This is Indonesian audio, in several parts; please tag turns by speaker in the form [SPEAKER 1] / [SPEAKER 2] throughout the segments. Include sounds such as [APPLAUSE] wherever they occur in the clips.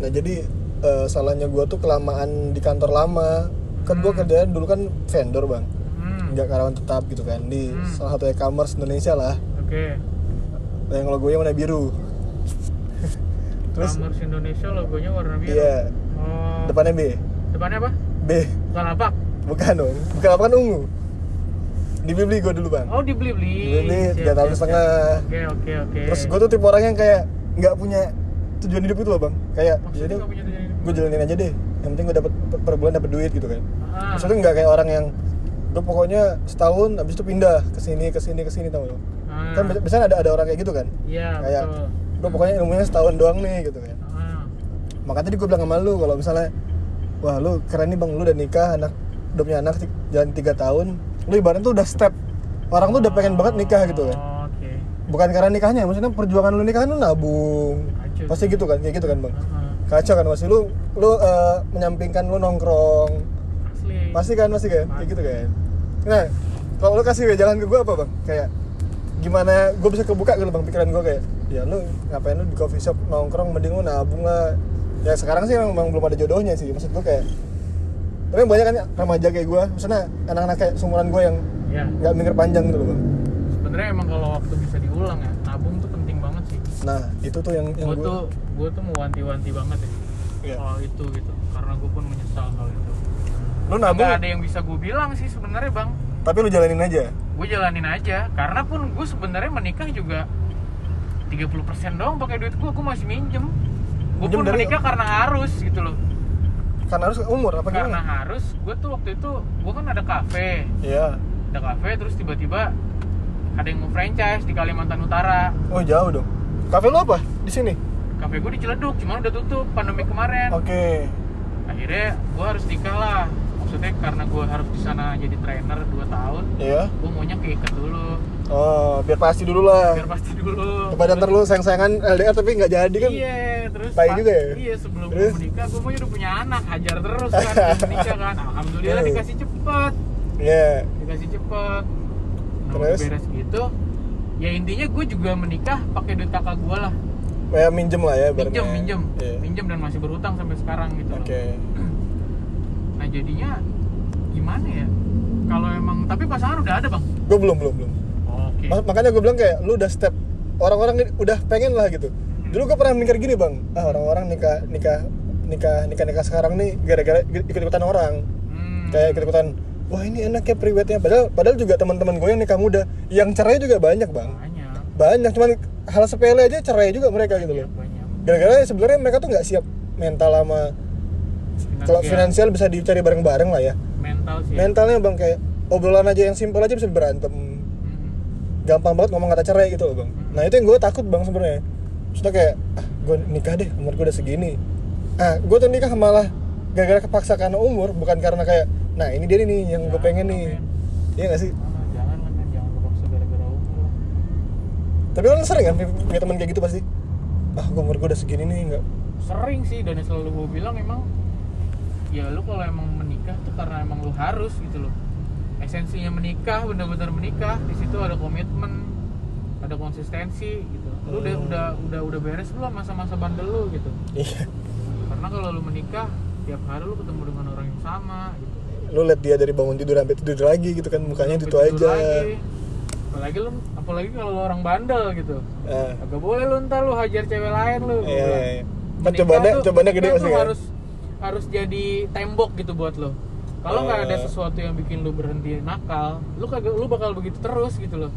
[SPEAKER 1] Nah, jadi eh, salahnya gue tuh kelamaan di kantor lama kan gue kerjaan dulu kan vendor bang
[SPEAKER 2] Hmm,
[SPEAKER 1] nggak karyawan tetap gitu kan di
[SPEAKER 2] Hmm.
[SPEAKER 1] salah satu e-commerce Indonesia lah Nah,
[SPEAKER 2] oke
[SPEAKER 1] yang logonya warna biru
[SPEAKER 2] Terus,
[SPEAKER 1] Terus-
[SPEAKER 2] Indonesia logonya warna biru
[SPEAKER 1] Iya.
[SPEAKER 2] oh,
[SPEAKER 1] depannya B
[SPEAKER 2] depannya apa
[SPEAKER 1] B
[SPEAKER 2] Lalapak
[SPEAKER 1] bukan dong bukan apa kan ungu dibeli gue dulu bang
[SPEAKER 2] oh iya, dibeli beli
[SPEAKER 1] Dibeli tiga tahun setengah.
[SPEAKER 2] oke oke oke
[SPEAKER 1] terus gue tuh tipe orang yang kayak nggak punya tujuan hidup itu loh bang kayak
[SPEAKER 2] maksudnya
[SPEAKER 1] jadi
[SPEAKER 2] nggak punya tujuan hidup?
[SPEAKER 1] gue jalanin aja deh yang penting gue dapat per bulan dapat duit gitu kan
[SPEAKER 2] Ah,
[SPEAKER 1] maksudnya nggak kayak orang yang gue pokoknya setahun habis itu pindah ke sini ke sini ke sini tau lo
[SPEAKER 2] ah,
[SPEAKER 1] kan bi- biasanya ada ada orang kayak gitu kan
[SPEAKER 2] iya
[SPEAKER 1] kayak
[SPEAKER 2] betul
[SPEAKER 1] gue pokoknya ilmunya setahun doang nih gitu kan
[SPEAKER 2] Ah,
[SPEAKER 1] makanya tadi gue bilang sama lu kalau misalnya wah lu keren nih bang lu udah nikah anak udah punya anak ti- jalan tiga tahun lu ibaratnya tuh udah step orang tuh udah pengen banget nikah gitu kan
[SPEAKER 2] oh, oke
[SPEAKER 1] bukan karena nikahnya maksudnya perjuangan lu nikah kan lu nabung
[SPEAKER 2] Kacau
[SPEAKER 1] pasti
[SPEAKER 2] sih.
[SPEAKER 1] gitu kan kayak gitu kan bang
[SPEAKER 2] Ah,
[SPEAKER 1] kacau kan masih lu lu eh, menyampingkan lu nongkrong
[SPEAKER 2] asli
[SPEAKER 1] pasti kan pasti kan kayak gitu kan nah kalau lu kasih jalan ke gue apa bang kayak gimana gue bisa kebuka gitu bang pikiran gue kayak ya lu ngapain lu di coffee shop nongkrong mending lu nabung lah ya sekarang sih memang belum ada jodohnya sih maksud gue kayak tapi banyak kan remaja kayak gue maksudnya anak-anak kayak seumuran gue yang
[SPEAKER 2] ya
[SPEAKER 1] nggak mikir panjang gitu loh bang
[SPEAKER 2] sebenarnya emang kalau waktu bisa diulang ya nabung tuh penting banget sih
[SPEAKER 1] nah itu tuh yang yang
[SPEAKER 2] gue
[SPEAKER 1] gue
[SPEAKER 2] tuh gue tuh mewanti-wanti banget ya
[SPEAKER 1] Iya.
[SPEAKER 2] soal itu gitu karena gue pun menyesal hal itu
[SPEAKER 1] lu nabung
[SPEAKER 2] nggak ada yang bisa gue bilang sih sebenarnya bang
[SPEAKER 1] tapi lu jalanin aja
[SPEAKER 2] gue jalanin aja karena pun gue sebenarnya menikah juga 30% doang pakai duit gue gue masih minjem gue
[SPEAKER 1] Minjem
[SPEAKER 2] pun
[SPEAKER 1] dari-
[SPEAKER 2] menikah karena harus gitu loh
[SPEAKER 1] karena harus umur apa
[SPEAKER 2] karena
[SPEAKER 1] gimana
[SPEAKER 2] harus gue tuh waktu itu gue kan ada kafe
[SPEAKER 1] iya
[SPEAKER 2] ada kafe terus tiba-tiba ada yang mau franchise di Kalimantan Utara
[SPEAKER 1] oh jauh dong kafe lu apa di sini
[SPEAKER 2] kafe gue di Ciledug cuman udah tutup pandemi kemarin
[SPEAKER 1] oke
[SPEAKER 2] akhirnya gue harus nikah lah maksudnya karena gue harus di sana jadi trainer 2 tahun
[SPEAKER 1] iya
[SPEAKER 2] gue maunya keikat dulu
[SPEAKER 1] oh biar pasti dulu lah
[SPEAKER 2] biar pasti dulu
[SPEAKER 1] Daripada ntar lu sayang-sayangan LDR tapi nggak jadi kan
[SPEAKER 2] iya terus
[SPEAKER 1] baik
[SPEAKER 2] pas-
[SPEAKER 1] juga ya?
[SPEAKER 2] iya sebelum gue
[SPEAKER 1] Terus?
[SPEAKER 2] menikah gue maunya udah punya anak hajar terus kan belum menikah kan alhamdulillah
[SPEAKER 1] Terus?
[SPEAKER 2] dikasih cepet
[SPEAKER 1] Iya
[SPEAKER 2] dikasih cepet nah, udah
[SPEAKER 1] Terus?
[SPEAKER 2] beres gitu ya intinya gue juga menikah pakai duit kakak gue lah
[SPEAKER 1] Kayak minjem lah ya
[SPEAKER 2] minjem
[SPEAKER 1] ibaratnya.
[SPEAKER 2] minjem
[SPEAKER 1] Iya.
[SPEAKER 2] minjem dan masih berutang sampai sekarang gitu loh.
[SPEAKER 1] Oke
[SPEAKER 2] nah jadinya gimana ya kalau emang tapi pasangan udah ada bang
[SPEAKER 1] Gue belum belum belum
[SPEAKER 2] oke
[SPEAKER 1] Ma- Makanya gue bilang kayak lu udah step Orang-orang ini udah pengen lah gitu Dulu gue pernah mikir gini bang Ah orang-orang nikah nikah nikah nikah nikah sekarang nih gara-gara ikut-ikutan orang
[SPEAKER 2] Hmm.
[SPEAKER 1] kayak ikut-ikutan wah ini enaknya priwetnya padahal padahal juga teman-teman gue yang nikah muda yang cerai juga banyak bang
[SPEAKER 2] banyak
[SPEAKER 1] banyak cuman hal sepele aja cerai juga mereka gitu loh
[SPEAKER 2] banyak
[SPEAKER 1] gara-gara sebenarnya mereka tuh nggak siap mental sama kalau
[SPEAKER 2] Finansial,
[SPEAKER 1] finansial bisa dicari bareng-bareng
[SPEAKER 2] Iya.
[SPEAKER 1] lah ya
[SPEAKER 2] mental sih ya.
[SPEAKER 1] mentalnya bang kayak obrolan aja yang simpel aja bisa berantem
[SPEAKER 2] Hmm.
[SPEAKER 1] gampang banget ngomong kata cerai gitu loh bang nah itu yang gue takut bang sebenarnya maksudnya kayak ah gue nikah deh umur gue udah segini ah gue tuh nikah malah gara-gara kepaksa karena umur bukan karena kayak nah ini dia nih yang gue
[SPEAKER 2] Nah,
[SPEAKER 1] pengen nih iya gak sih
[SPEAKER 2] Ah, jangan lah kan jangan berpaksa gara-gara umur lah.
[SPEAKER 1] tapi kan sering kan punya teman kayak gitu pasti ah gue umur gue udah segini nih nggak [LAUGHS]
[SPEAKER 2] sering sih dan yang selalu gue bilang emang ya lu kalau emang menikah tuh karena emang lu harus gitu loh esensinya menikah benar-benar menikah di situ ada komitmen ada konsistensi gitu lu udah
[SPEAKER 1] Hmm.
[SPEAKER 2] udah udah udah beres lu lah masa-masa bandel lu gitu
[SPEAKER 1] iya
[SPEAKER 2] karena kalau lu menikah tiap hari lu ketemu dengan orang yang sama gitu
[SPEAKER 1] lu lihat dia dari bangun tidur sampai tidur lagi gitu kan mukanya itu
[SPEAKER 2] Tidur
[SPEAKER 1] aja
[SPEAKER 2] lagi. apalagi lu apalagi kalau lu orang bandel gitu
[SPEAKER 1] ah
[SPEAKER 2] agak boleh lu ntar lu hajar cewek lain lu gua
[SPEAKER 1] iya
[SPEAKER 2] bilang.
[SPEAKER 1] iya
[SPEAKER 2] Menikah
[SPEAKER 1] cobaannya
[SPEAKER 2] tuh-
[SPEAKER 1] cobaannya gede
[SPEAKER 2] menikah
[SPEAKER 1] pasti
[SPEAKER 2] tuh
[SPEAKER 1] kan
[SPEAKER 2] harus harus jadi tembok gitu buat lo kalau nggak ada
[SPEAKER 1] Eh.
[SPEAKER 2] sesuatu yang bikin lo berhenti nakal lo kagak lo bakal begitu terus gitu loh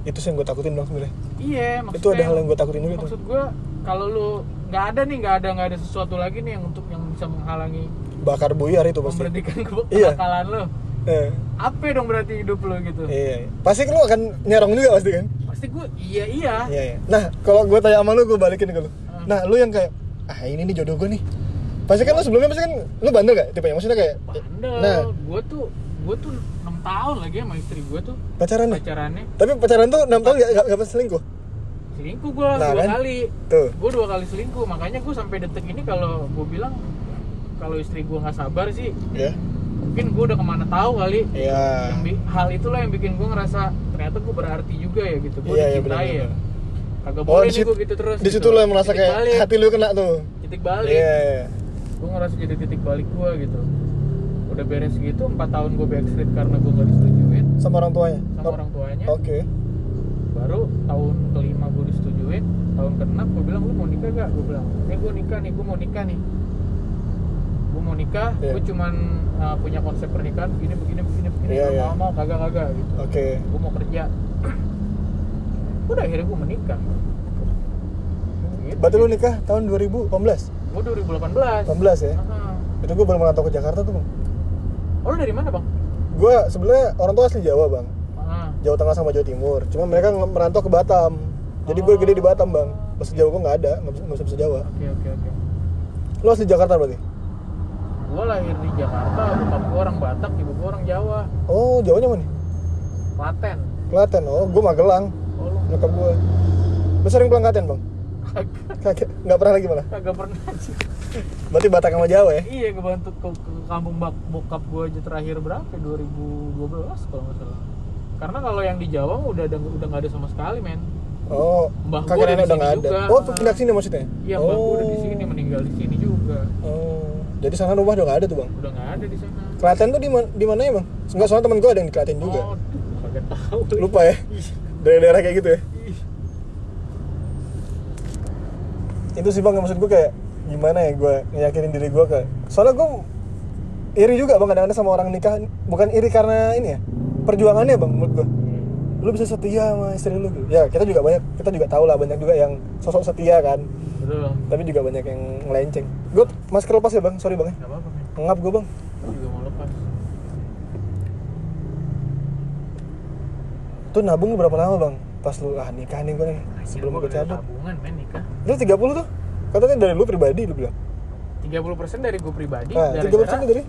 [SPEAKER 1] itu sih yang gue takutin bang sebenarnya
[SPEAKER 2] iya maksudnya
[SPEAKER 1] itu ada hal yang gue takutin juga tuh
[SPEAKER 2] maksud gue kalau lo nggak ada nih nggak ada nggak ada sesuatu lagi nih yang untuk yang bisa menghalangi
[SPEAKER 1] bakar buyar itu pasti
[SPEAKER 2] memberhentikan ke-
[SPEAKER 1] Iya.
[SPEAKER 2] kenakalan lo
[SPEAKER 1] Eh,
[SPEAKER 2] apa dong berarti hidup lo gitu
[SPEAKER 1] iya, iya. pasti lu akan nyerong juga pasti kan
[SPEAKER 2] pasti gue iya iya
[SPEAKER 1] iya iya nah kalau gue tanya sama lu gue balikin ke lu
[SPEAKER 2] Hmm.
[SPEAKER 1] nah lu yang kayak ah ini nih jodoh gue nih pasti kan lu sebelumnya pasti kan lu bandel gak tipe maksudnya kayak
[SPEAKER 2] bandel
[SPEAKER 1] Nah.
[SPEAKER 2] gue tuh gue tuh enam tahun lagi sama istri gue tuh
[SPEAKER 1] pacaran nih
[SPEAKER 2] pacarannya
[SPEAKER 1] tapi pacaran tuh 6 tahun gak, gak, gak pernah selingkuh
[SPEAKER 2] selingkuh gue
[SPEAKER 1] Nah,
[SPEAKER 2] dua
[SPEAKER 1] kan?
[SPEAKER 2] kali
[SPEAKER 1] tuh
[SPEAKER 2] gue dua kali selingkuh makanya gue sampai detik ini kalau gue bilang kalau istri gue nggak sabar sih
[SPEAKER 1] ya
[SPEAKER 2] mungkin gue udah kemana tahu kali
[SPEAKER 1] iya
[SPEAKER 2] Iya. yang bi- hal itulah yang bikin gue ngerasa ternyata gue berarti juga ya gitu gue
[SPEAKER 1] Iya, iya,
[SPEAKER 2] dicintai ya
[SPEAKER 1] benar-benar.
[SPEAKER 2] kagak
[SPEAKER 1] Oh,
[SPEAKER 2] boleh
[SPEAKER 1] di
[SPEAKER 2] nih
[SPEAKER 1] situ-
[SPEAKER 2] gue gitu terus
[SPEAKER 1] di situ
[SPEAKER 2] gitu.
[SPEAKER 1] lu yang merasa
[SPEAKER 2] Titik
[SPEAKER 1] kayak
[SPEAKER 2] balik,
[SPEAKER 1] hati lu kena tuh
[SPEAKER 2] titik titik balik
[SPEAKER 1] Iya.
[SPEAKER 2] gue ngerasa jadi titik balik gue gitu udah beres gitu empat tahun gue backstreet karena gue gak disetujuin
[SPEAKER 1] Sama orang tuanya.
[SPEAKER 2] sama
[SPEAKER 1] Nor-
[SPEAKER 2] orang tuanya
[SPEAKER 1] Oke.
[SPEAKER 2] baru tahun kelima gue disetujuin tahun keenam gue bilang lu mau nikah gak gue bilang eh gue nikah nih gue mau nikah nih gue mau nikah
[SPEAKER 1] Iya.
[SPEAKER 2] gue cuman uh, punya konsep pernikahan begini begini begini begini
[SPEAKER 1] Iya,
[SPEAKER 2] Lu
[SPEAKER 1] iya.
[SPEAKER 2] mau mau kagak kagak gitu
[SPEAKER 1] Oke.
[SPEAKER 2] gue mau kerja [CLEARS THROAT] udah akhirnya gue menikah
[SPEAKER 1] Berarti lu nikah tahun 2018?
[SPEAKER 2] gue 2018
[SPEAKER 1] 18 ya?
[SPEAKER 2] Aha.
[SPEAKER 1] Itu gue baru merantau ke Jakarta tuh bang
[SPEAKER 2] Uh-huh. Oh, lu dari mana bang?
[SPEAKER 1] Gue sebenarnya orang tua asli Jawa bang
[SPEAKER 2] Ah.
[SPEAKER 1] Jawa Tengah sama Jawa Timur Cuma mereka nge- merantau ke Batam Jadi gue gede di Batam bang Bahasa Jawa gue gak ada, gak bisa, nggak bisa bahasa Jawa
[SPEAKER 2] Oke oke oke.
[SPEAKER 1] Lu asli Jakarta berarti?
[SPEAKER 2] Gue lahir di Jakarta, bokap gue orang Batak, ibu gue orang Jawa,
[SPEAKER 1] Oh Jawanya mana? nih?
[SPEAKER 2] Klaten.
[SPEAKER 1] Klaten, oh gue Magelang
[SPEAKER 2] Oh lu [LAUGHS]
[SPEAKER 1] Nyokap gue Lu sering pulang Klaten bang? [LAUGHS]
[SPEAKER 2] kagak
[SPEAKER 1] Kagak, gak pernah lagi malah
[SPEAKER 2] kagak pernah sih.
[SPEAKER 1] Berarti Batak sama Jawa ya?
[SPEAKER 2] Iya, gue bantu ke, ke kampung bak, bokap gue aja terakhir berapa? ya? 2012 kalau nggak salah. Karena kalau yang di Jawa udah ada udah nggak ada sama sekali men.
[SPEAKER 1] Oh,
[SPEAKER 2] Mbah gua
[SPEAKER 1] kakek
[SPEAKER 2] ada
[SPEAKER 1] nenek
[SPEAKER 2] di
[SPEAKER 1] udah gak ada
[SPEAKER 2] sini juga.
[SPEAKER 1] Oh, pindah sini maksudnya?
[SPEAKER 2] Iya,
[SPEAKER 1] oh.
[SPEAKER 2] mbak gue udah di sini meninggal di sini juga.
[SPEAKER 1] Oh, jadi sana rumah udah gak ada tuh bang
[SPEAKER 2] Udah nggak ada di sana.
[SPEAKER 1] Klaten tuh di mana di mananya bang? Enggak soalnya temen gue ada yang di Klaten juga.
[SPEAKER 2] Oh, aduh, kagak tahu.
[SPEAKER 1] Lupa ya. Daerah-daerah kayak gitu ya.
[SPEAKER 2] Ih,
[SPEAKER 1] Itu sih bang maksud gue kayak gimana ya gue ngeyakinin diri gue ke. Soalnya gue iri juga bang kadang-kadang sama orang nikah bukan iri karena ini ya perjuangannya bang menurut gue lu bisa setia sama istri lu gitu. ya kita juga banyak kita juga tahu lah banyak juga yang sosok setia kan
[SPEAKER 2] Betul.
[SPEAKER 1] tapi juga banyak yang ngelenceng gue masker lepas ya bang sorry bang ya.
[SPEAKER 2] Gak apa-apa men.
[SPEAKER 1] ngap gue bang
[SPEAKER 2] Gue juga mau lepas.
[SPEAKER 1] tuh nabung lu berapa lama bang pas lu ah nikah nih gue nih sebelum
[SPEAKER 2] iya, Gua
[SPEAKER 1] gue
[SPEAKER 2] udah ada
[SPEAKER 1] cabut
[SPEAKER 2] Tabungan men nikah.
[SPEAKER 1] Lu 30 tuh? Katanya dari lu pribadi lu bilang.
[SPEAKER 2] 30% dari gue pribadi
[SPEAKER 1] Nah, 30
[SPEAKER 2] gara-gara
[SPEAKER 1] itu dari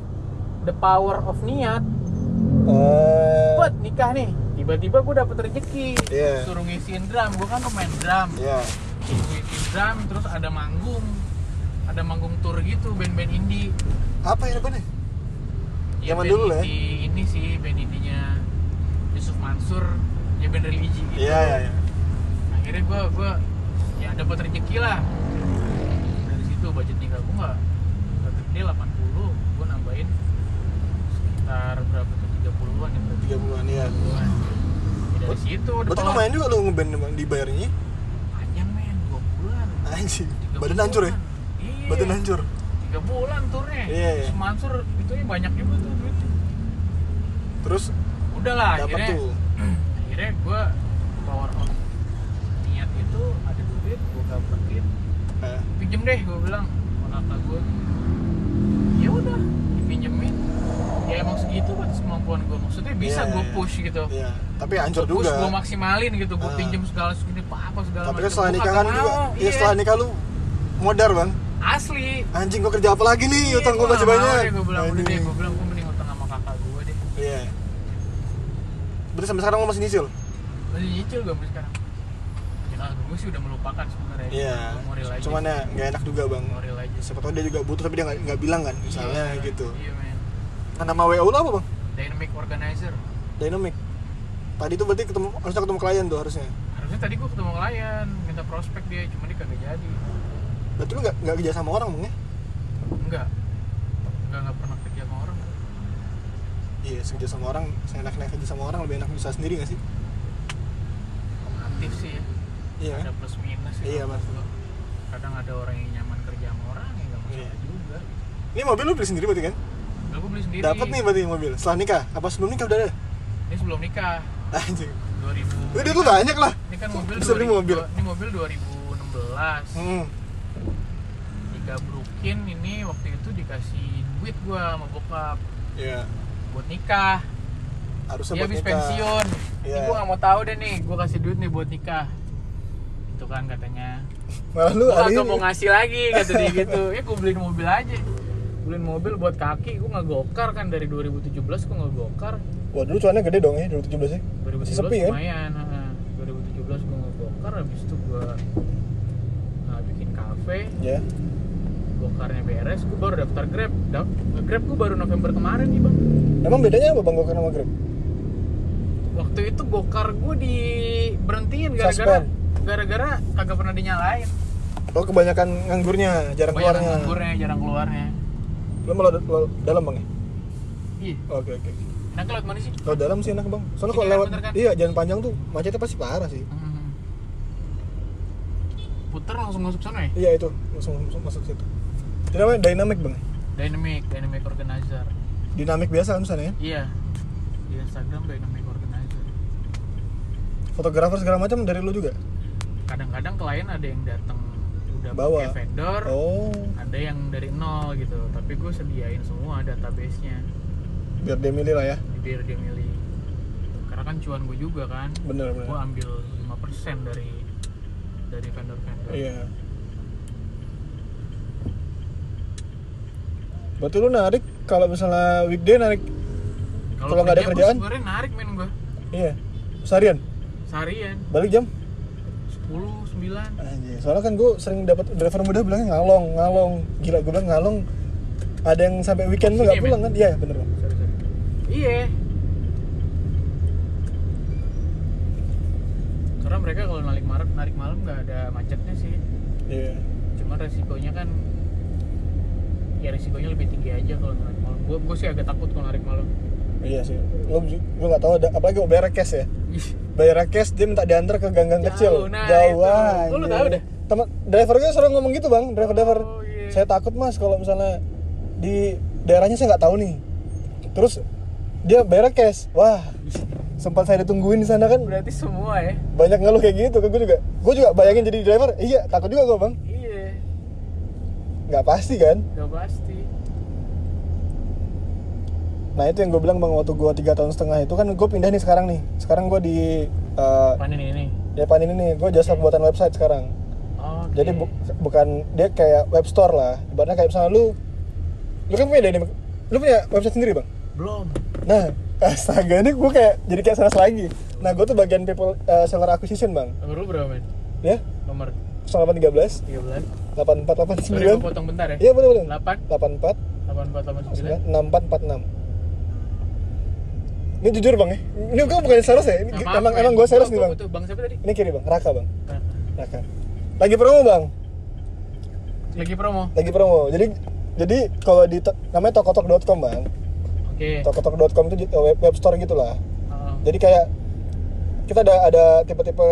[SPEAKER 2] the power of niat
[SPEAKER 1] Ah. eh
[SPEAKER 2] buat nikah nih tiba-tiba gue dapet rezeki
[SPEAKER 1] Iya.
[SPEAKER 2] suruh ngisiin drum gue kan pemain drum
[SPEAKER 1] ya.
[SPEAKER 2] Suruh ngisiin drum terus ada manggung ada manggung tour gitu band-band indie
[SPEAKER 1] Apa ya nih? Zaman
[SPEAKER 2] band
[SPEAKER 1] dulu lah ya.
[SPEAKER 2] indie ini sih band indinya Yusuf Mansur ya band religi gitu
[SPEAKER 1] Iya, iya, iya.
[SPEAKER 2] akhirnya gue gue ya dapat rezeki lah dari situ budget nikah gue nggak nggak gede 80 gue nambahin sekitar berapa tuh 30 an ya berarti
[SPEAKER 1] 30-an ya.
[SPEAKER 2] 30-an. Ya, dari situ udah
[SPEAKER 1] Berarti
[SPEAKER 2] power-
[SPEAKER 1] lumayan juga lu ngeband emang dibayarnya.
[SPEAKER 2] panjang men 2 bulan
[SPEAKER 1] Anjing.
[SPEAKER 2] tiga
[SPEAKER 1] Badan
[SPEAKER 2] bulan.
[SPEAKER 1] hancur ya.
[SPEAKER 2] iya
[SPEAKER 1] Badan hancur.
[SPEAKER 2] 3 bulan turnya
[SPEAKER 1] Iya, iya.
[SPEAKER 2] Terus Mansur itu banyak juga tuh duitnya
[SPEAKER 1] Terus
[SPEAKER 2] udah lah
[SPEAKER 1] dapat
[SPEAKER 2] akhirnya
[SPEAKER 1] tuh. eh,
[SPEAKER 2] akhirnya gue power on niat itu ada duit gue dapetin
[SPEAKER 1] Eh,
[SPEAKER 2] pinjem deh gue bilang konata gue ya udah dipinjemin ya emang segitu batas kemampuan gue maksudnya bisa
[SPEAKER 1] Iya,
[SPEAKER 2] gue
[SPEAKER 1] iya.
[SPEAKER 2] push gitu
[SPEAKER 1] Iya, tapi hancur
[SPEAKER 2] Gue push
[SPEAKER 1] juga.
[SPEAKER 2] gue maksimalin gitu gue
[SPEAKER 1] Ah.
[SPEAKER 2] pinjem segala segini apa apa segala
[SPEAKER 1] Tapi kan
[SPEAKER 2] macam.
[SPEAKER 1] setelah
[SPEAKER 2] Gua
[SPEAKER 1] nikah kan
[SPEAKER 2] kagak
[SPEAKER 1] juga.
[SPEAKER 2] mau,
[SPEAKER 1] Iya, setelah nikah lu modar, Bang.
[SPEAKER 2] asli
[SPEAKER 1] Anjing gua kerja apa lagi
[SPEAKER 2] Iya,
[SPEAKER 1] nih? Utang gua masih banyak. Nah,
[SPEAKER 2] gue bilang udah deh
[SPEAKER 1] Anjing.
[SPEAKER 2] gue bilang gue mending utang sama kakak gue deh
[SPEAKER 1] Iya. Berarti sampai sekarang lu masih nyicil?
[SPEAKER 2] masih nyicil gue sampai sekarang ya gue sih udah melupakan sebenarnya
[SPEAKER 1] Iya.
[SPEAKER 2] Gua mau real aja
[SPEAKER 1] Cuman ya nggak enak juga bang.
[SPEAKER 2] Mau real aja
[SPEAKER 1] Siapa tahu dia juga butuh tapi dia nggak nggak bilang kan, misalnya
[SPEAKER 2] Iya,
[SPEAKER 1] gitu.
[SPEAKER 2] iya men
[SPEAKER 1] Nah, nama WO lu apa bang?
[SPEAKER 2] dynamic organizer
[SPEAKER 1] Dynamic. Tadi tuh berarti ketemu harusnya ketemu klien tuh harusnya.
[SPEAKER 2] harusnya tadi gue ketemu klien minta prospek dia cuma dia kagak jadi
[SPEAKER 1] Berarti lu nggak nggak kerja sama orang bang ya?
[SPEAKER 2] enggak enggak enggak pernah kerja sama orang
[SPEAKER 1] Iya, kerja sama orang, saya enak enak kerja sama orang lebih enak bisa sendiri nggak sih?
[SPEAKER 2] aktif sih ya
[SPEAKER 1] Iya kan?
[SPEAKER 2] ada plus minus sih
[SPEAKER 1] Iya,
[SPEAKER 2] kalau
[SPEAKER 1] Mas.
[SPEAKER 2] gua. kadang ada orang yang nyaman kerja sama orang ya nggak masalah
[SPEAKER 1] Iya.
[SPEAKER 2] juga
[SPEAKER 1] Ini mobil lu beli sendiri berarti kan?
[SPEAKER 2] Enggak, gue beli sendiri
[SPEAKER 1] Dapat nih berarti mobil. Setelah nikah? Apa sebelum nikah udah ada? [LAUGHS]
[SPEAKER 2] ini sebelum nikah
[SPEAKER 1] Anjing.
[SPEAKER 2] 2000
[SPEAKER 1] Udah lu banyak lah.
[SPEAKER 2] ini kan mobil
[SPEAKER 1] Bisa beli
[SPEAKER 2] 2000
[SPEAKER 1] mobil.
[SPEAKER 2] ini mobil 2016
[SPEAKER 1] Hmm.
[SPEAKER 2] digabrukin ini waktu itu dikasih duit gua sama bokap
[SPEAKER 1] Iya.
[SPEAKER 2] buat nikah
[SPEAKER 1] Harusnya
[SPEAKER 2] dia
[SPEAKER 1] buat
[SPEAKER 2] habis
[SPEAKER 1] nikah.
[SPEAKER 2] pensiun ini
[SPEAKER 1] Iya.
[SPEAKER 2] gua nggak mau tahu deh nih gua kasih duit nih buat nikah itu kan katanya
[SPEAKER 1] Malah lu
[SPEAKER 2] gue
[SPEAKER 1] hari
[SPEAKER 2] kagak
[SPEAKER 1] ini.
[SPEAKER 2] mau ngasih lagi kata
[SPEAKER 1] [LAUGHS]
[SPEAKER 2] dia gitu ya gue beliin mobil aja beliin mobil buat kaki gue nggak gokar kan dari 2017 gue nggak gokar
[SPEAKER 1] Wah dulu cuannya gede dong ya 2017 ya.
[SPEAKER 2] 2017
[SPEAKER 1] Masih sepi ya?
[SPEAKER 2] lumayan ha. 2017 gue nggak gokar habis itu gue bikin kafe
[SPEAKER 1] Ya.
[SPEAKER 2] gokarnya beres gue baru daftar grab Daf- grab gue baru November kemarin nih bang
[SPEAKER 1] Emang bedanya apa bang Gokar sama Grab?
[SPEAKER 2] waktu itu gokar gue di berhentiin
[SPEAKER 1] Suspend.
[SPEAKER 2] gara-gara gara-gara kagak pernah dinyalain
[SPEAKER 1] Oh kebanyakan nganggurnya, jarang
[SPEAKER 2] Kebanyakan
[SPEAKER 1] keluarnya.
[SPEAKER 2] nganggurnya, jarang keluarnya
[SPEAKER 1] Lo mau lewat- lewat dalam bang ya?
[SPEAKER 2] iya
[SPEAKER 1] Oke oke.
[SPEAKER 2] nah lewat mana sih
[SPEAKER 1] Lewat dalam sih enak bang. Soalnya kalau
[SPEAKER 2] Iya,
[SPEAKER 1] lewat
[SPEAKER 2] bener kan?
[SPEAKER 1] iya jalan panjang tuh macetnya pasti parah sih.
[SPEAKER 2] Hmm. puter langsung masuk sana ya
[SPEAKER 1] Iya itu langsung, langsung masuk situ. Itu namanya dynamic bang.
[SPEAKER 2] dynamic dynamic organizer
[SPEAKER 1] Dinamik biasa kan misalnya ya.
[SPEAKER 2] iya di Instagram dynamic organizer
[SPEAKER 1] Fotografer segala macam dari lu juga.
[SPEAKER 2] kadang-kadang klien ada yang datang udah
[SPEAKER 1] Bawa.
[SPEAKER 2] pakai vendor
[SPEAKER 1] Oh,
[SPEAKER 2] ada yang dari nol gitu tapi gue sediain semua database-nya
[SPEAKER 1] biar dia milih lah ya.
[SPEAKER 2] biar dia milih karena kan cuan gue juga kan
[SPEAKER 1] Bener
[SPEAKER 2] gue
[SPEAKER 1] bener.
[SPEAKER 2] ambil 5% dari dari vendor vendor
[SPEAKER 1] Iya. Berarti lu narik kalau misalnya weekday narik Kalau nggak ada kerjaan?
[SPEAKER 2] sebenarnya narik men gue
[SPEAKER 1] iya seharian
[SPEAKER 2] seharian
[SPEAKER 1] balik jam
[SPEAKER 2] 10, 9
[SPEAKER 1] Anjir, soalnya kan gue sering dapat driver muda bilangnya ngalong, ngalong. Gila gue bilang ngalong. Ada yang sampai weekend tuh nggak
[SPEAKER 2] Sini,
[SPEAKER 1] pulang kan? Iya bener bang.
[SPEAKER 2] sorry sorry iya karena mereka kalau narik malam narik malam nggak ada macetnya sih
[SPEAKER 1] Iya.
[SPEAKER 2] cuman resikonya kan ya resikonya lebih tinggi aja kalau narik malam gue gue sih agak takut kalau narik malam
[SPEAKER 1] Iya sih. Lo gue nggak tahu ada apalagi gue bayar cash ya. Bayar cash dia minta diantar ke gang-gang
[SPEAKER 2] Jauh,
[SPEAKER 1] kecil.
[SPEAKER 2] nah
[SPEAKER 1] Jauh.
[SPEAKER 2] itu.
[SPEAKER 1] anjir.
[SPEAKER 2] Lu- lu tahu dah?
[SPEAKER 1] Teman driver gue sering ngomong gitu bang. Driver driver.
[SPEAKER 2] Oh, iya.
[SPEAKER 1] Saya takut mas kalau misalnya di daerahnya saya nggak tahu nih. Terus dia bayar cash. Wah sempat saya ditungguin di sana kan
[SPEAKER 2] berarti semua ya
[SPEAKER 1] banyak ngeluh kayak gitu ke gue juga gue juga bayangin jadi driver iya takut juga gue bang
[SPEAKER 2] iya
[SPEAKER 1] nggak pasti kan
[SPEAKER 2] udah pasti
[SPEAKER 1] Nah itu yang gue bilang bang waktu gue tiga tahun setengah itu kan gue pindah nih sekarang nih. Sekarang gue di eh
[SPEAKER 2] panen ini
[SPEAKER 1] Depan ini nih, gue jasa pembuatan website sekarang.
[SPEAKER 2] Oke.
[SPEAKER 1] Jadi bu- bukan dia kayak web store lah. Ibaratnya kayak misalnya lu, lu kan punya dynamic, lu punya website sendiri bang.
[SPEAKER 2] belum
[SPEAKER 1] Nah [LAUGHS] astaga ini gue kayak jadi kayak sales lagi. Nah gue tuh bagian people eh, seller acquisition bang.
[SPEAKER 2] nomor lu berapa men
[SPEAKER 1] Ya,
[SPEAKER 2] nomor
[SPEAKER 1] delapan 13,
[SPEAKER 2] 13 Sorry, gue
[SPEAKER 1] 8489.
[SPEAKER 2] potong bentar ya
[SPEAKER 1] Iya boleh boleh.
[SPEAKER 2] 8
[SPEAKER 1] 84,
[SPEAKER 2] 8489
[SPEAKER 1] 6446. Ini jujur bang ya, ini gue bukan sales ya, ini,
[SPEAKER 2] Nah, maaf,
[SPEAKER 1] emang
[SPEAKER 2] men.
[SPEAKER 1] emang gue sales
[SPEAKER 2] Gua-
[SPEAKER 1] nih
[SPEAKER 2] gua
[SPEAKER 1] bang.
[SPEAKER 2] butuh. bang siapa tadi Nah,
[SPEAKER 1] Ini kiri bang, Raka bang, Raka. Lagi promo bang,
[SPEAKER 2] lagi promo
[SPEAKER 1] lagi promo. Jadi jadi kalau di to- namanya tokotok.com
[SPEAKER 2] Eh.
[SPEAKER 1] bang,
[SPEAKER 2] oke
[SPEAKER 1] tokotok.com itu j- web, web store gitulah.
[SPEAKER 2] Oh,
[SPEAKER 1] Jadi kayak kita ada ada tipe-tipe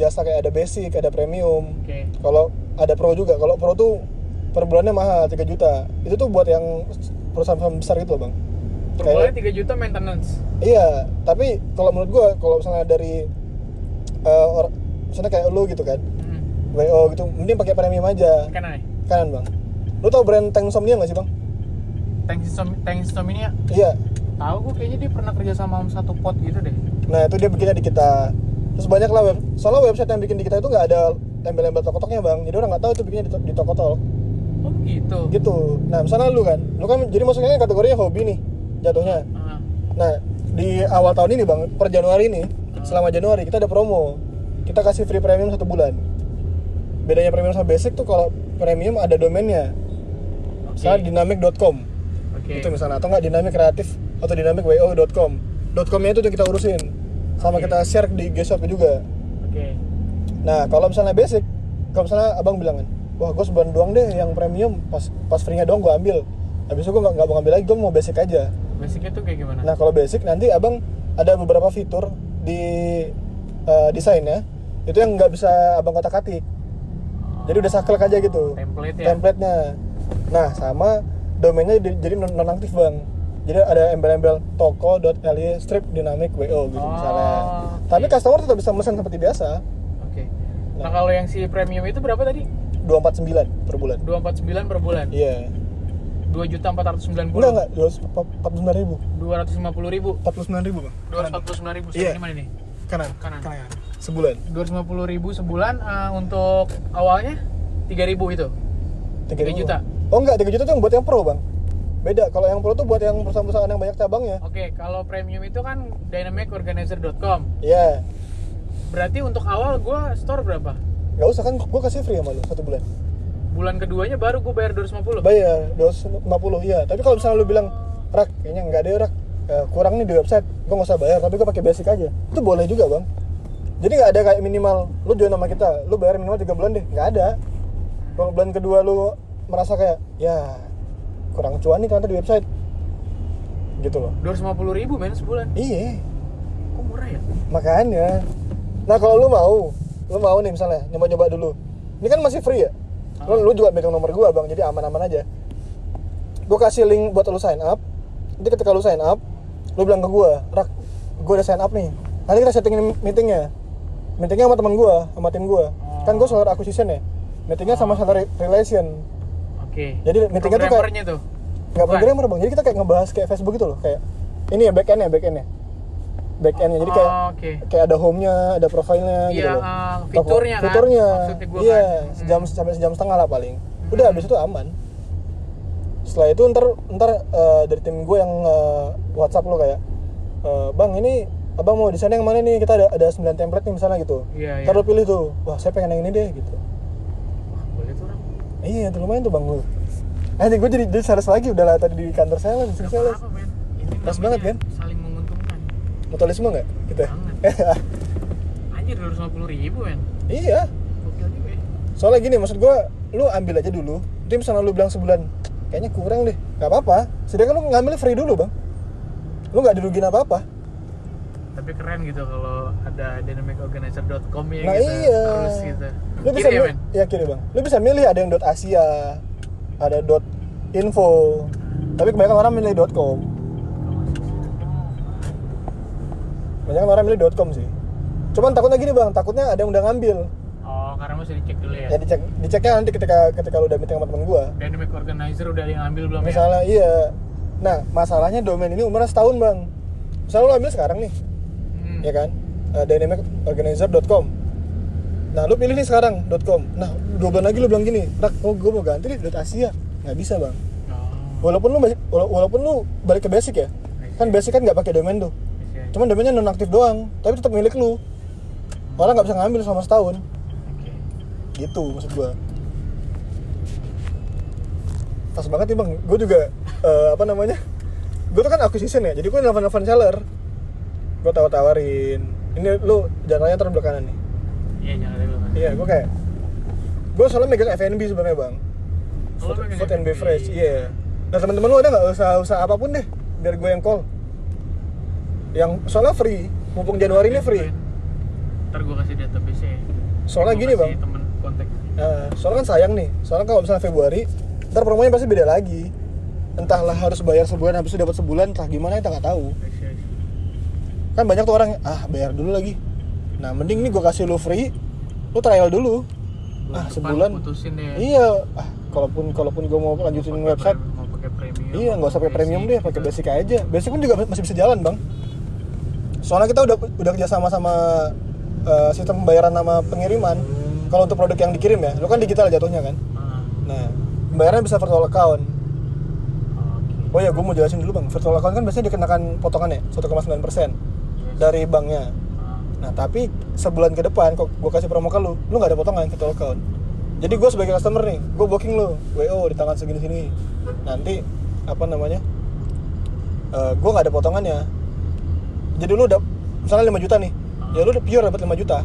[SPEAKER 1] jasa kayak ada basic, ada premium.
[SPEAKER 2] oke
[SPEAKER 1] Kalau ada pro juga, kalau pro tuh per bulannya mahal 3 juta. Itu tuh buat yang perusahaan-perusahaan besar gitu loh bang. Kayak-
[SPEAKER 2] perbulannya 3 juta maintenance
[SPEAKER 1] Iya, tapi kalau menurut gua kalau misalnya dari eh or, misalnya kayak lu gitu kan,
[SPEAKER 2] hmm.
[SPEAKER 1] WO gitu, mending pakai premium aja.
[SPEAKER 2] kan aneh
[SPEAKER 1] Kanan, Bang. Lu tau brand Tank Somnia nggak sih, Bang?
[SPEAKER 2] tank system tank system ini ya
[SPEAKER 1] Iya.
[SPEAKER 2] tahu gue kayaknya dia pernah kerja sama sama satu pot gitu deh
[SPEAKER 1] Nah, itu dia bikinnya di kita. Terus banyak lah web. Soalnya website yang bikin di kita itu nggak ada embel-embel tokotoknya, Bang. Jadi orang nggak tahu itu bikinnya di, to- di tokotok.
[SPEAKER 2] oh gitu
[SPEAKER 1] Gitu. Nah, misalnya lu kan, lu kan jadi masuknya kategorinya hobi nih jatuhnya.
[SPEAKER 2] Ah,
[SPEAKER 1] Nah, di awal tahun ini Bang, per Januari ini, selama Januari kita ada promo. Kita kasih free premium satu bulan. Bedanya premium sama basic tuh kalau premium ada domainnya.
[SPEAKER 2] oke
[SPEAKER 1] Misalnya dynamic.com
[SPEAKER 2] oke
[SPEAKER 1] itu misalnya atau nggak dynamic kreatif atau dynamic wo.com. .com-nya itu yang kita urusin. Sama
[SPEAKER 2] Oke.
[SPEAKER 1] kita share di IG shop juga.
[SPEAKER 2] oke
[SPEAKER 1] Nah, kalau misalnya basic, kalau misalnya Abang bilang kan, wah gue sebulan doang deh yang premium pas pas free-nya doang gue ambil. Habis itu gue nggak nggak mau ambil lagi, gue mau basic aja.
[SPEAKER 2] basicnya tuh kayak gimana
[SPEAKER 1] Nah kalau basic nanti abang ada beberapa fitur di eh, desainnya itu yang nggak bisa abang kotak atik. Jadi udah saklek aja gitu.
[SPEAKER 2] Oh. template ya
[SPEAKER 1] Template-nya. Nah sama domainnya di- jadi non aktif bang. Jadi ada embel-embel toko.ly strip dynamic wo gitu
[SPEAKER 2] Oh,
[SPEAKER 1] misalnya.
[SPEAKER 2] oke.
[SPEAKER 1] Tapi customer tetap bisa mesen seperti biasa.
[SPEAKER 2] Oke. Nah,
[SPEAKER 1] Nah.
[SPEAKER 2] kalau yang si premium itu berapa tadi?
[SPEAKER 1] 249 per bulan.
[SPEAKER 2] 249 per bulan.
[SPEAKER 1] Iya.
[SPEAKER 2] 2 juta 490.
[SPEAKER 1] Enggak enggak, 249 ribu.
[SPEAKER 2] 250 ribu.
[SPEAKER 1] 49 ribu bang.
[SPEAKER 2] 249 ribu.
[SPEAKER 1] Iya.
[SPEAKER 2] Ini mana nih?
[SPEAKER 1] Kanan.
[SPEAKER 2] Kanan.
[SPEAKER 1] Sebulan.
[SPEAKER 2] 250 ribu sebulan eh, untuk awalnya 3 ribu gitu. itu. 3
[SPEAKER 1] ribu,
[SPEAKER 2] juta.
[SPEAKER 1] Bang. Oh enggak, 3 juta tuh yang buat yang pro, Bang. Beda. Kalau yang pro tuh buat yang perusahaan-perusahaan yang banyak ya. cabangnya.
[SPEAKER 2] Oke, kalau premium itu kan dynamicorganizer.com.
[SPEAKER 1] Iya.
[SPEAKER 2] Berarti untuk awal gua store berapa?
[SPEAKER 1] Enggak usah kan gua kasih free sama lu satu bulan.
[SPEAKER 2] Bulan keduanya baru gua bayar 250.
[SPEAKER 1] Bayar 250 iya. Tapi kalau misalnya lu bilang, "Rak, kayaknya enggak ada Rak. Eh, kurang nih di website. Gua nggak usah bayar, tapi gua pakai basic aja." Itu boleh juga, Bang. Jadi nggak ada kayak minimal lu join sama kita, lu bayar minimal 3 bulan deh. Nggak ada. kalau bulan kedua lu merasa kayak ya kurang cuan nih ternyata di website gitu loh
[SPEAKER 2] dua ribu men sebulan
[SPEAKER 1] iya
[SPEAKER 2] kok murah ya
[SPEAKER 1] makanya nah kalau lu mau lu mau nih misalnya nyoba-nyoba dulu ini kan masih free ya lu, lu juga megang nomor gua bang jadi aman-aman aja gua kasih link buat lu sign up nanti ketika lu sign up lu bilang ke gua rak gua udah sign up nih nanti kita setting meetingnya meetingnya sama teman gua sama tim gua kan gua seller acquisition ya meetingnya sama seller relation
[SPEAKER 2] oke
[SPEAKER 1] Jadi meetingnya tuh kayak-
[SPEAKER 2] Programmernya tuh
[SPEAKER 1] nggak
[SPEAKER 2] Bukan.
[SPEAKER 1] programmer bang jadi kita kayak ngebahas kayak Facebook gitu loh kayak ini ya back end ya back end ya back end Ya, jadi kayak
[SPEAKER 2] Oh, oke
[SPEAKER 1] kayak ada home-nya, ada profile-nya gitu
[SPEAKER 2] Iya,
[SPEAKER 1] loh.
[SPEAKER 2] ah,
[SPEAKER 1] Toko-
[SPEAKER 2] fiturnya kan,
[SPEAKER 1] Fiturnya.
[SPEAKER 2] maksudnya gua
[SPEAKER 1] iya,
[SPEAKER 2] kan. Hmm.
[SPEAKER 1] sejam sampai sejam setengah lah paling. Udah
[SPEAKER 2] Hmm.
[SPEAKER 1] habis itu aman. Setelah itu ntar ntar eh, dari tim gue yang eh, WhatsApp lo kayak eh, Bang, ini Abang mau desain yang mana nih? Kita ada ada 9 template nih misalnya gitu.
[SPEAKER 2] Iya,
[SPEAKER 1] Ntar
[SPEAKER 2] iya.
[SPEAKER 1] lo pilih tuh. Wah, saya pengen yang ini deh gitu.
[SPEAKER 2] Wah, boleh tuh orang
[SPEAKER 1] Iya, itu lumayan tuh Bang lu. Nanti gue jadi, jadi sales lagi udah lah tadi di kantor sales,
[SPEAKER 2] Gak
[SPEAKER 1] sales.
[SPEAKER 2] apa-apa men Ini
[SPEAKER 1] Pas Iya,
[SPEAKER 2] namanya
[SPEAKER 1] banget, kan?
[SPEAKER 2] saling menguntungkan
[SPEAKER 1] Mutualisme nggak kita?
[SPEAKER 2] Anjir 250 ribu men
[SPEAKER 1] [LAUGHS] iya.
[SPEAKER 2] Gokil juga ya
[SPEAKER 1] soalnya gini maksud gua lu ambil aja dulu tim misalnya lu bilang sebulan kayaknya kurang deh nggak apa-apa sedangkan lu ngambil free dulu bang lu nggak dirugin apa-apa
[SPEAKER 2] Tapi keren gitu kalau ada dynamicorganizer.com ya
[SPEAKER 1] nah
[SPEAKER 2] gitu
[SPEAKER 1] iya
[SPEAKER 2] Terus gitu
[SPEAKER 1] lu bisa
[SPEAKER 2] Kiri ya
[SPEAKER 1] mil-
[SPEAKER 2] men
[SPEAKER 1] ya kiri bang lu bisa milih ada yang dot asia ada dot info tapi kebanyakan orang milih dot com kebanyakan orang milih dot com sih cuman takutnya gini bang takutnya ada yang udah ngambil
[SPEAKER 2] Oh karena masih dicek dulu ya
[SPEAKER 1] ya dicek diceknya nanti ketika ketika lu udah meeting sama temen gua
[SPEAKER 2] Dynamic organizer udah ada yang ambil belum ya?
[SPEAKER 1] misalnya iya nah masalahnya domain ini umurnya setahun bang misalnya lu ambil sekarang nih
[SPEAKER 2] Hmm.
[SPEAKER 1] ya kan uh, dynamicorganizer.com nah lu pilih nih sekarang .com nah dua bulan lagi lu bilang gini rak oh gue mau ganti nih dot asia nggak bisa bang
[SPEAKER 2] Oh,
[SPEAKER 1] walaupun lu basi- wala- walaupun lu balik ke basic ya kan basic kan nggak pakai domain tuh
[SPEAKER 2] bisa aja.
[SPEAKER 1] cuman domainnya nonaktif doang tapi tetap milik lu orang nggak bisa ngambil selama setahun
[SPEAKER 2] Oke.
[SPEAKER 1] gitu maksud gua pas banget nih bang gue juga eh, apa namanya gue tuh kan acquisition ya jadi gue nelfon nelfon seller gue tawar tawarin ini lu jalannya terbelah kanan nih
[SPEAKER 2] Iya jangan dulu kan.
[SPEAKER 1] iya gue kayak gue soalnya megang F&B sebenarnya bang
[SPEAKER 2] Kalau
[SPEAKER 1] food,
[SPEAKER 2] pengen
[SPEAKER 1] food and
[SPEAKER 2] F&B,
[SPEAKER 1] beverage iya nah teman-teman lu ada nggak usaha usaha apapun deh biar gue yang call yang soalnya free mumpung Januari ini
[SPEAKER 2] Iya,
[SPEAKER 1] free
[SPEAKER 2] Ntar gue kasih database nya
[SPEAKER 1] Soalnya gini, Bang.
[SPEAKER 2] Temen kontak.
[SPEAKER 1] Nah, soalnya kan sayang nih. Soalnya kalau misalnya Februari, ntar promonya pasti beda lagi. Entahlah harus bayar sebulan habis itu dapat sebulan, entah gimana kita nggak tahu.
[SPEAKER 2] Bisa, bisa.
[SPEAKER 1] Kan banyak tuh orang ah bayar dulu lagi. Nah, mending nih gua kasih lu free, lu trial dulu.
[SPEAKER 2] Bulan
[SPEAKER 1] Ah,
[SPEAKER 2] depan
[SPEAKER 1] sebulan.
[SPEAKER 2] Putusin ya. deh.
[SPEAKER 1] Iya, ah kalaupun kalaupun gua mau lanjutin
[SPEAKER 2] Mau pakai
[SPEAKER 1] website,
[SPEAKER 2] pre- Mau pakai premium.
[SPEAKER 1] iya nggak usah pakai
[SPEAKER 2] basic
[SPEAKER 1] premium deh, pakai
[SPEAKER 2] gitu.
[SPEAKER 1] basic aja. Basic pun juga masih bisa jalan, Bang. Soalnya kita udah udah kerja sama sama eh, sistem pembayaran sama pengiriman. Kalau untuk produk yang dikirim ya, lu kan digital jatuhnya kan.
[SPEAKER 2] Ah,
[SPEAKER 1] Nah, pembayaran bisa virtual account.
[SPEAKER 2] Ah, oke.
[SPEAKER 1] Oh ya, gue mau jelasin dulu bang. Virtual account kan biasanya dikenakan potongan ya, 1,9 dari banknya.
[SPEAKER 2] Ah,
[SPEAKER 1] Nah tapi sebulan ke depan, kok gue kasih promo ke lu, lu nggak ada potongan virtual account. Jadi gue sebagai customer nih, gue booking lu, wo di tangan segini sini. Nanti apa namanya? Eh gue nggak ada potongannya. Jadi lu udah misalnya 5 juta nih, ya lu udah pure dapat 5 juta,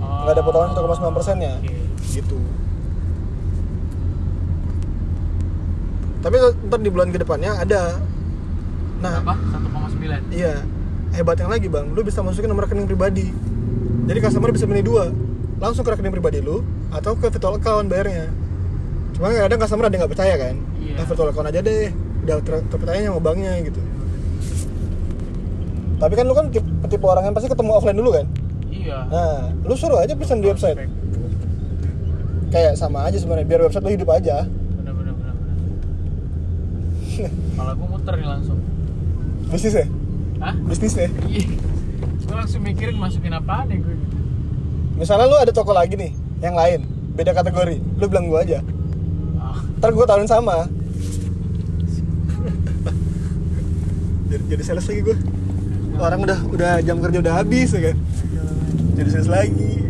[SPEAKER 2] oh,
[SPEAKER 1] nggak ada potongan 1,9 nya.
[SPEAKER 2] oke.
[SPEAKER 1] Gitu. Tapi ntar di bulan kedepannya ada. Nah,
[SPEAKER 2] Berapa? 1,9.
[SPEAKER 1] Iya, hebatnya lagi bang, lu bisa masukin nomor rekening pribadi. Jadi customer bisa milih dua, langsung ke rekening pribadi lu atau ke virtual account bayarnya. Cuma kadang customer ada yang nggak percaya kan,
[SPEAKER 2] Iya.
[SPEAKER 1] "Ah, virtual account aja deh, udah ter terpercayanya sama banknya gitu. Tapi kan lu kan tip- tipe orang yang pasti ketemu offline dulu kan.
[SPEAKER 2] Iya.
[SPEAKER 1] Nah, lu suruh aja pesan di website. Kayak sama aja sebenarnya, biar website lu hidup aja.
[SPEAKER 2] Bener bener bener
[SPEAKER 1] [LAUGHS]
[SPEAKER 2] bener. Kalau gue muter nih langsung.
[SPEAKER 1] Bisnis ya,
[SPEAKER 2] Hah?
[SPEAKER 1] bisnis ya.
[SPEAKER 2] Iya. Gue langsung mikirin masukin apaan ya gue.
[SPEAKER 1] Misalnya lu ada toko lagi nih, yang lain, beda kategori, lu bilang gua aja.
[SPEAKER 2] Ah,
[SPEAKER 1] ntar gue tawarin sama jadi, jadi sales lagi gue orang udah udah jam kerja udah habis ya kan jadi sales lagi